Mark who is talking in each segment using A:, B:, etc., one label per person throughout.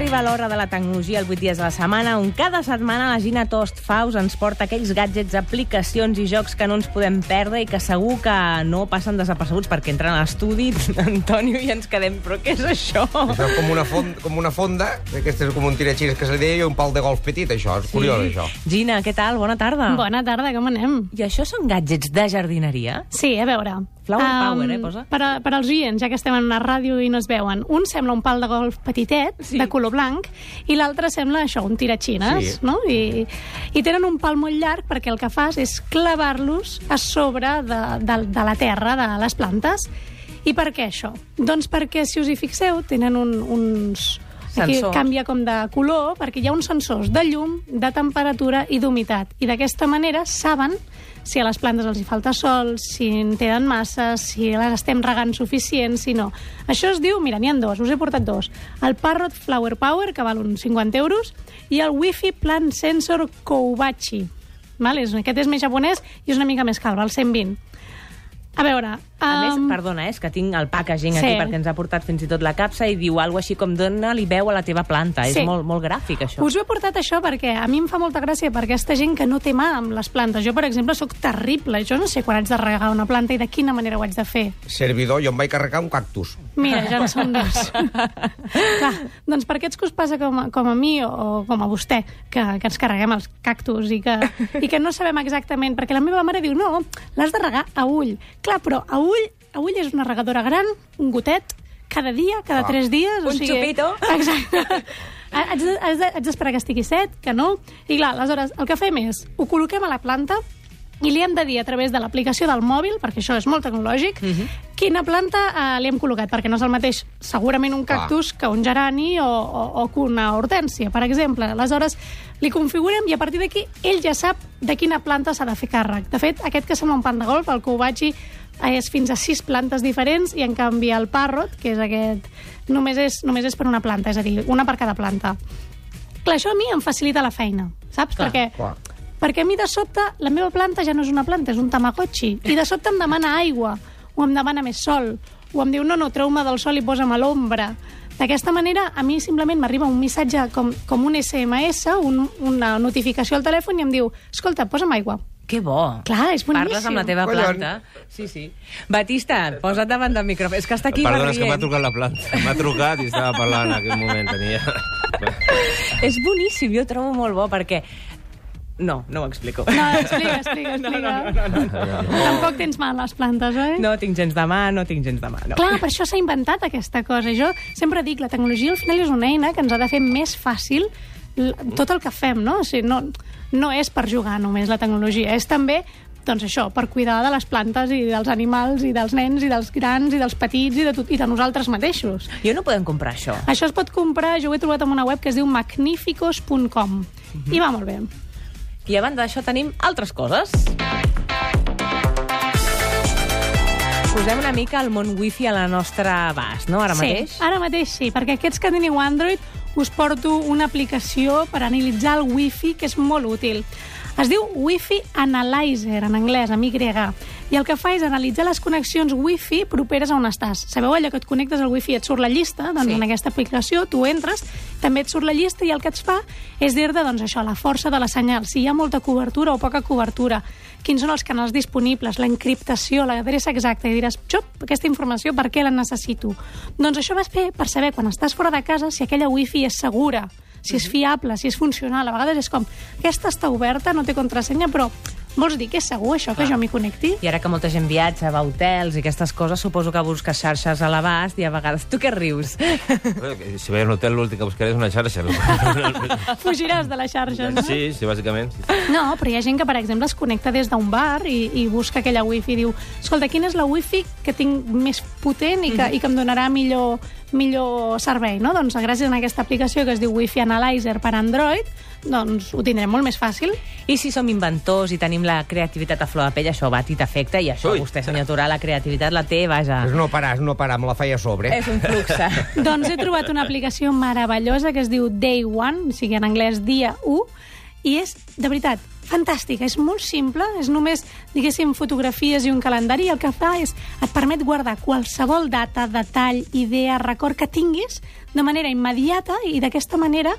A: celebra l'hora de la tecnologia el 8 dies de la setmana, on cada setmana la Gina Tost Faus ens porta aquells gadgets, aplicacions i jocs que no ens podem perdre i que segur que no passen desapercebuts perquè entren a l'estudi, Antonio, i ens quedem... Però què és això?
B: Això és com una, fond, com una fonda, d'aquestes com un tiratxines que se li deia, i un pal de golf petit, això. És curiós, això.
A: Gina, què tal? Bona tarda.
C: Bona tarda, com anem?
A: I això són gadgets de jardineria?
C: Sí, a veure.
A: Flower power, eh, posa?
C: Per, a, per als oients, ja que estem en una ràdio i no es veuen, un sembla un pal de golf petitet,
A: Sí.
C: sí. de color blanc, i l'altre sembla això, un tiratxines,
B: Sí.
C: no? I, I tenen un pal molt llarg perquè el que fas és clavar-los a sobre de, de, de la terra, de les plantes. I per què això? Doncs perquè, si us hi fixeu, tenen un, uns... Aquí
A: Sensors.
C: canvia com de color perquè hi ha uns sensors de llum, de temperatura i d'humitat. I d'aquesta manera saben si a les plantes els hi falta sol, si en tenen massa, si les estem regant suficient, si no. Això es diu, mira, n'hi ha dos, us he portat dos. El Parrot Flower Power, que val uns 50 euros, i el Wi-Fi Plant Sensor Koubachi. Val? És, aquest és més japonès i és una mica més car, val 120. A veure...
A: A més,
C: em,
A: perdona, eh, és que tinc el packaging
C: Um, Sí.
A: aquí perquè ens ha portat fins i tot la capsa i diu alguna així com dona-li veu a la teva planta.
C: Sí.
A: És molt, molt gràfic, això.
C: Us ho he portat això perquè a mi em fa molta gràcia per aquesta gent que no té mà amb les plantes. Jo, per exemple, sóc terrible. Jo no sé quan haig de regar una planta i de quina manera ho haig de fer.
B: Servidor, jo em vaig carregar un cactus.
C: Mira, ja no són dos. Clar, doncs per aquests que us passa com a, com a mi o com a vostè, que, que ens carreguem els cactus i que, i que no sabem exactament, perquè la meva mare diu, no, l'has de regar a ull. Clar, però a ull, a ull és una regadora gran, un gotet, cada dia, cada
B: Ah.
C: tres dies...
A: Un xupito.
C: Exacte. Eh, Haig de- haig de- haig d'esperar que estigui set, que no. I clar, aleshores, el que fem és, ho col·loquem a la planta i li hem de dir a través de l'aplicació del mòbil, perquè això és molt tecnològic, quina planta eh, li hem col·locat, perquè no és el mateix segurament un
B: Clar.
C: cactus que un gerani o, o, o que una hortènsia, per exemple. Aleshores, li configurem i a partir d'aquí ell ja sap de quina planta s'ha de fer càrrec. De fet, aquest que sembla un pan de golf, el Koubachi, és fins a sis plantes diferents i en canvi el Parrot, que és aquest, només és, només és per una planta, és a dir, una per cada planta. Clar, això a mi em facilita la feina, saps?
A: Clar,
C: perquè
B: clar.
C: perquè a mi de sobte la meva planta ja no és una planta, és un tamagotxi. I de sobte em demana aigua, o em demana més sol, o em diu no, no, treu-me del sol i posa'm a l'ombra. D'aquesta manera, a mi simplement m'arriba un missatge com, com un SMS, un, una notificació al telèfon i em diu, escolta, posa'm aigua.
A: Que bo.
C: Clar, és boníssim.
A: Parles amb la teva
B: Collons.
A: planta. Sí, sí. Batista, posa't davant del micròfon. És que està aquí
D: Perdona, és que m'ha
A: barrient.
D: trucat la planta. M'ha trucat i estava parlant en aquell moment. Tenia...
A: És boníssim, jo ho trobo molt bo, perquè... No, no ho explico.
C: No, explica, explica, explica.
A: No, no, no, no, no.
C: Tampoc tens mal les plantes, oi?
A: no tinc gens de mà, no tinc gens de mà. No.
C: Clar, per això s'ha inventat aquesta cosa. Jo sempre dic, la tecnologia al final és una eina que ens ha de fer més fàcil l- tot el que fem, no? O sigui, no, no és per jugar només la tecnologia, és també doncs això, per cuidar de les plantes i dels animals i dels nens i dels grans i dels petits i de, tot, i de nosaltres mateixos.
A: Jo no podem comprar això.
C: Això es pot comprar, jo ho he trobat en una web que es diu magnificos.com i va molt bé.
A: I a banda d'això tenim altres coses. Posem una mica el món wifi a la nostra abast, no?, ara mateix.
C: Sí, ara mateix sí, perquè aquests que teniu Android us porto una aplicació per analitzar el wifi que és molt útil. Es diu Wi-Fi Analyzer, en anglès, amb Y, i el que fa és analitzar les connexions Wi-Fi properes a on estàs. Sabeu allò que et connectes al Wi-Fi i et surt la llista? Doncs
A: Sí.
C: sí. en aquesta aplicació tu entres, també et surt la llista i el que et fa és dir-te doncs, això, la força de la senyal, si hi ha molta cobertura o poca cobertura, quins són els canals disponibles, la encriptació, l'adreça exacta, i diràs, xop, aquesta informació per què la necessito? Doncs això vas fer per saber quan estàs fora de casa si aquella wifi és segura, si és fiable, si és funcional. A vegades és com, aquesta està oberta, no té contrasenya, però vols dir que és segur això, que jo m'hi connecti?
A: I ara que molta gent viatja, va a hotels i aquestes coses, suposo que busques xarxes a l'abast i a vegades... Tu què rius?
D: Si veia un hotel, l'últim que buscaré és una xarxa. No?
C: Fugiràs de les xarxes, no?
D: Sí, sí, bàsicament. Sí.
C: No, però hi ha gent que, per exemple, es connecta des d'un bar i, i busca aquella wifi i diu escolta, quina és la wifi que tinc més potent i que, i que em donarà millor, millor servei, no? Doncs gràcies a aquesta aplicació que es diu Wifi Analyzer per Android, doncs ho tindrem molt més fàcil.
A: I si som inventors i tenim la creativitat a flor de pell, això va a ti t'afecta i això,
D: Ui.
A: vostè, senyor Torà, la creativitat la té,
C: Ah.
A: vaja.
B: És no parar, és no parar, me la feia a sobre.
A: És un flux.
C: doncs he trobat una aplicació meravellosa que es diu Day One, o sigui, en anglès dia 1, i és, de veritat, fantàstica, és molt simple, és només, diguéssim, fotografies i un calendari, i el que fa és, et permet guardar qualsevol data, detall, idea, record que tinguis de manera immediata i d'aquesta manera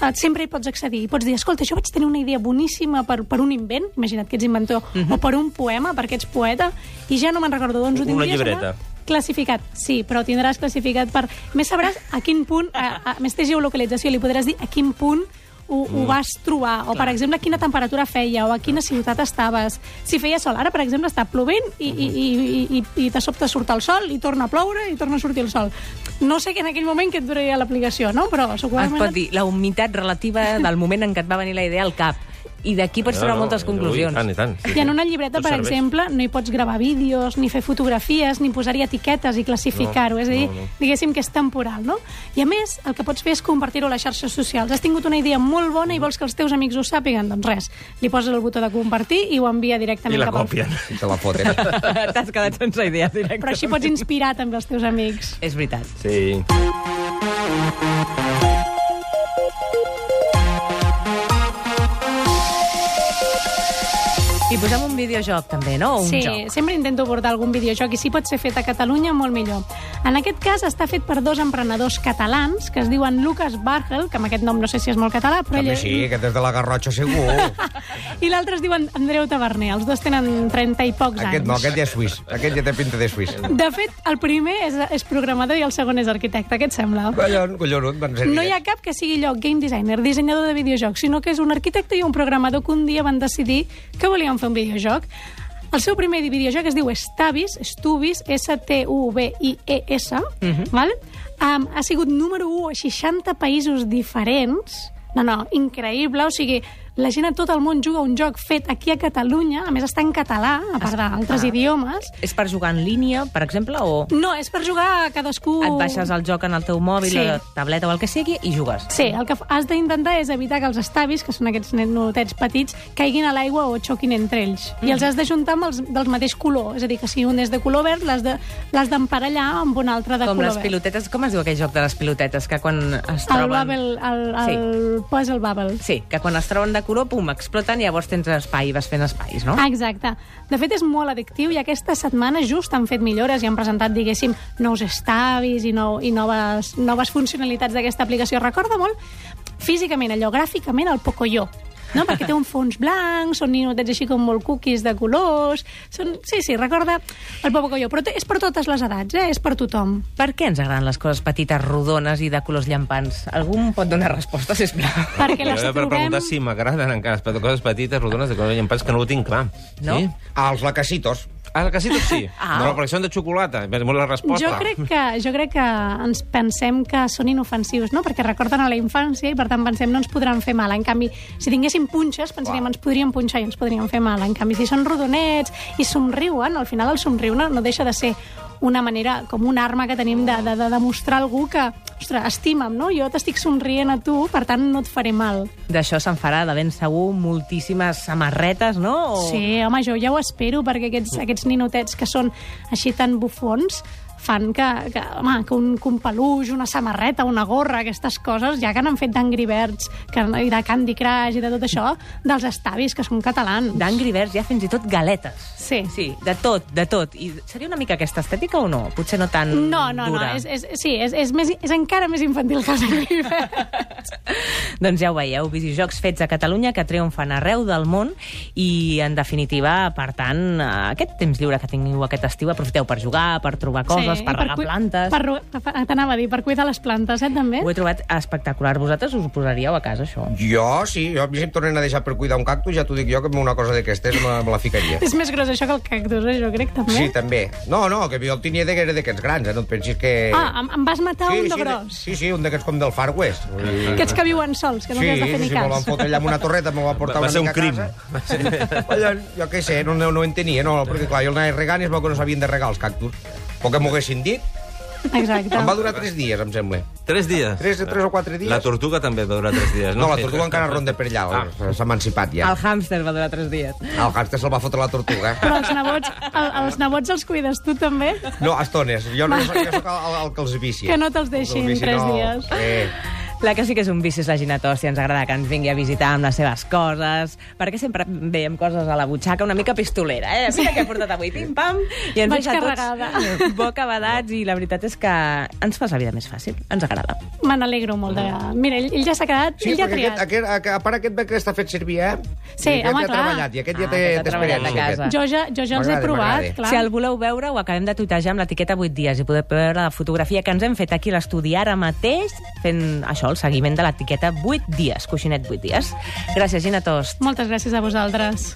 C: eh, sempre hi pots accedir. I pots dir, escolta, jo vaig tenir una idea boníssima per, per un invent, imagina't que ets inventor, o per un poema, perquè ets poeta, i ja no me'n recordo d'on ho
D: Mhm. Una
C: tindries.
D: llibreta.
C: allà Classificat, sí, però ho tindràs classificat per... Més sabràs a quin punt... A, a, més té geolocalització, li podràs dir a quin punt ho, ho vas trobar, o per exemple quina temperatura feia, o a quina ciutat estaves si feia sol, ara per exemple està plovent i, i, i, i, i de sobte surt el sol i torna a ploure i torna a sortir el sol no sé que en aquell moment que et duraria l'aplicació no? però
A: Es
C: segurament
A: pot dir la humitat relativa del moment en què et va venir la idea al cap. I d'aquí pots treure moltes conclusions.
D: I tant, i tant. Sí,
C: I en
D: sí.
C: una llibreta,
D: Tot
C: per
D: serveix.
C: exemple, no hi pots gravar vídeos, ni fer fotografies, ni posar-hi etiquetes i classificar-ho.
D: No,
C: és a dir,
D: no, no.
C: diguéssim que és temporal, no? I a més, el que pots fer és compartir-ho a les xarxes socials. Has tingut una idea molt bona i vols que els teus amics ho sàpiguen? Doncs res, li poses el botó de compartir i ho envia directament
D: I la
C: cap al...
D: còpien.
B: I te la foten.
A: T'has quedat sense idea directament.
C: Però així pots inspirar també els teus amics.
A: És veritat.
D: Sí.
A: I posem un videojoc, també, no? O Un
C: sí,
A: joc.
C: sempre intento portar algun videojoc i si pot ser fet a Catalunya, molt millor. En aquest cas està fet per dos emprenedors catalans que es diuen Lucas Bargel, que amb aquest nom no sé si és molt català, però
B: També
C: ell...
B: sí, que des de la Garrotxa segur.
C: I l'altre es diu Andreu Taverner. Els dos tenen 30 i pocs
B: aquest
C: anys.
B: no, aquest ja és suís. Aquest ja té pinta de suís.
C: De fet, el primer és, és programador i el segon és arquitecte. Què et sembla?
B: Collon, collonut, van ser
C: No hi ha cap que sigui lloc game designer, dissenyador de videojocs, sinó que és un arquitecte i un programador que un dia van decidir que volien fer un videojoc. El seu primer videojoc es diu Stavis, Stubis, S-T-U-B-I-E-S, E val? Um, ha sigut número 1 a 60 països diferents. No, no, increïble, o sigui, la gent a tot el món juga a un joc fet aquí a Catalunya, a més està en català, a part d'altres idiomes.
A: És per jugar en línia, per exemple, o
C: No, és per jugar a cadascú...
A: et baixes el joc en el teu mòbil,
C: Sí.
A: sí. la tableta o el que sigui, i jugues.
C: Sí, el que f- has d'intentar és evitar que els estavis, que són aquests nenotets petits, caiguin a l'aigua o xoquin entre ells. I
A: Mm.
C: els has d'ajuntar amb els del mateix color. És a dir, que si un és de color verd, l'has de- l'has d'emparellar de, amb un altre de
A: Com
C: color
A: les
C: verd.
A: pilotetes, com es diu aquell joc de les pilotetes, que quan es
C: El
A: troben...
C: bubble, el, el, el puzzle bubble.
A: Sí, que quan es troben de color, pum, exploten i llavors tens espai i vas fent espais, no?
C: Ah, Exacte. De fet, és molt addictiu i aquesta setmana just han fet millores i han presentat, diguéssim, nous estavis i, nou, i noves, noves funcionalitats d'aquesta aplicació. Recorda molt físicament, allò gràficament, el Pocoyo. No? perquè té un fons blanc, són ninotets així com molt cookies de colors... Són... Sí, sí, recorda el Pocoyo. Però té- és per totes les edats, eh? és per tothom.
A: Per què ens agraden les coses petites, rodones i de colors llampants? Algú em pot donar resposta, sisplau?
C: Perquè les
D: Jo he de
C: trobem...
D: preguntar si m'agraden encara les coses petites, rodones, de color llampants, que no ho tinc clar.
A: No?
D: Sí?
B: Els lacacitos.
D: Ah, la casita sí.
A: Ah.
D: Ah. Però perquè són de xocolata. És molt la resposta.
C: Jo crec, que, jo crec que ens pensem que són inofensius, no? Perquè recorden a la infància i, per tant, pensem no ens podran fer mal. En canvi, si tinguéssim punxes, pensaríem ens podrien punxar i ens podrien fer mal. En canvi, si són rodonets i somriuen, al final el somriure no deixa de ser una manera, com una arma que tenim de, de, de demostrar a algú que, ostres, estima'm, no? Jo t'estic somrient a tu, per tant, no et faré mal.
A: D'això se'n farà de ben segur moltíssimes samarretes, no? O...
C: Sí, home, jo ja ho espero, perquè aquests, aquests ninotets que són així tan bufons fan que, que, home, que un, que un peluix, una samarreta, una gorra, aquestes coses, ja que n'han fet d'Angry Birds que, i de Candy Crush i de tot això, dels estavis, que són catalans.
A: D'Angry Birds hi ha fins i tot galetes.
C: Sí.
A: Sí, de tot, de tot. I seria una mica aquesta estètica o no? Potser no tan
C: No, no, no,
A: dura.
C: és, és, sí, és, és, més, és encara més infantil que els Angry Birds.
A: Doncs ja ho veieu, videojocs fets a Catalunya que triomfen arreu del món i, en definitiva, per tant, eh, aquest temps lliure que tingueu aquest estiu aprofiteu per jugar, per trobar coses,
C: Sí,
A: per
C: i
A: regar
C: cui-
A: plantes...
C: Per, ru- per, T'anava a dir, per cuidar les plantes, eh, també?
A: Ho he trobat espectacular. Vosaltres us ho posaríeu a casa, això?
B: Jo, sí, jo a mi si em tornen a deixar per cuidar un cactus, ja t'ho dic jo, que amb una cosa d'aquestes me, la- me la ficaria.
C: És més gros això que el cactus, eh, jo crec, també.
B: Sí, també. No, no, que jo el tenia de- que era d'aquests grans, eh? no et pensis que...
C: Ah, em, em vas matar
B: sí,
C: un de
B: sí,
C: gros.
B: Sí, sí, un d'aquests com del Far West. Vull dir-
C: Aquests que viuen sols, que no
B: sí,
C: sí, has de fer ni
B: sí, me'l van
C: cas.
B: fotre allà amb una torreta, me'l va portar
D: Va- va
B: una
D: ser un
B: mica
D: crim.
B: a casa. Allò, jo què sé, no, no, no ho entenia, no, perquè clar, jo el anava regant i es veu que no s'havien de regar els cactus. O que m'ho haguessin dit.
C: Exacte.
B: Em va durar tres dies, em sembla.
D: Tres dies.
B: Tres, tres o quatre dies.
D: La tortuga també va durar tres dies.
B: No, la tortuga encara ronda per allà,
D: Ah.
B: s'ha emancipat ja.
A: El hàmster va durar tres dies.
B: El hàmster se'l va fotre la tortuga.
C: Però els nebots, el, els nebots els cuides tu també?
B: No, a estones. Jo no jo soc el, el, el que els vici.
C: Que no te'ls
B: El
C: deixin
B: que els vici,
C: tres
B: no.
C: dies.
B: Eh,
A: La que sí que és un vici és la ginatòstia. Ens agrada que ens vingui a visitar amb les seves coses, perquè sempre veiem coses a la butxaca una mica pistolera. Eh? Mira què he portat avui, pim-pam, i ens
C: Vaig
A: deixa
C: carregada.
A: tots boca badats, i la veritat és que ens fa la vida més fàcil. Ens agrada.
C: Me n'alegro molt de... Mira, ell, ell ja s'ha quedat,
B: Sí,
C: ell ja ha
B: perquè
C: triat.
B: aquest, aquest, aquest, a part aquest que està fet servir, eh?
C: Sí,
B: I aquest
C: home,
B: ja ha
C: clar.
B: treballat, i aquest ja
A: Ah,
B: té
A: aquest ha
B: té
A: treballat
B: experiència.
A: a
B: aquest.
A: casa.
C: Jo ja, jo ja els he
B: M'agrada,
C: provat,
B: m'agrada.
C: clar.
A: Si el voleu veure, ho acabem de tuitejar amb l'etiqueta 8 dies i podeu veure la fotografia que ens hem fet aquí a l'estudi ara mateix fent això, el seguiment de l'etiqueta 8 dies, coixinet 8 dies. Gràcies, Gina Tost.
C: Moltes gràcies a vosaltres.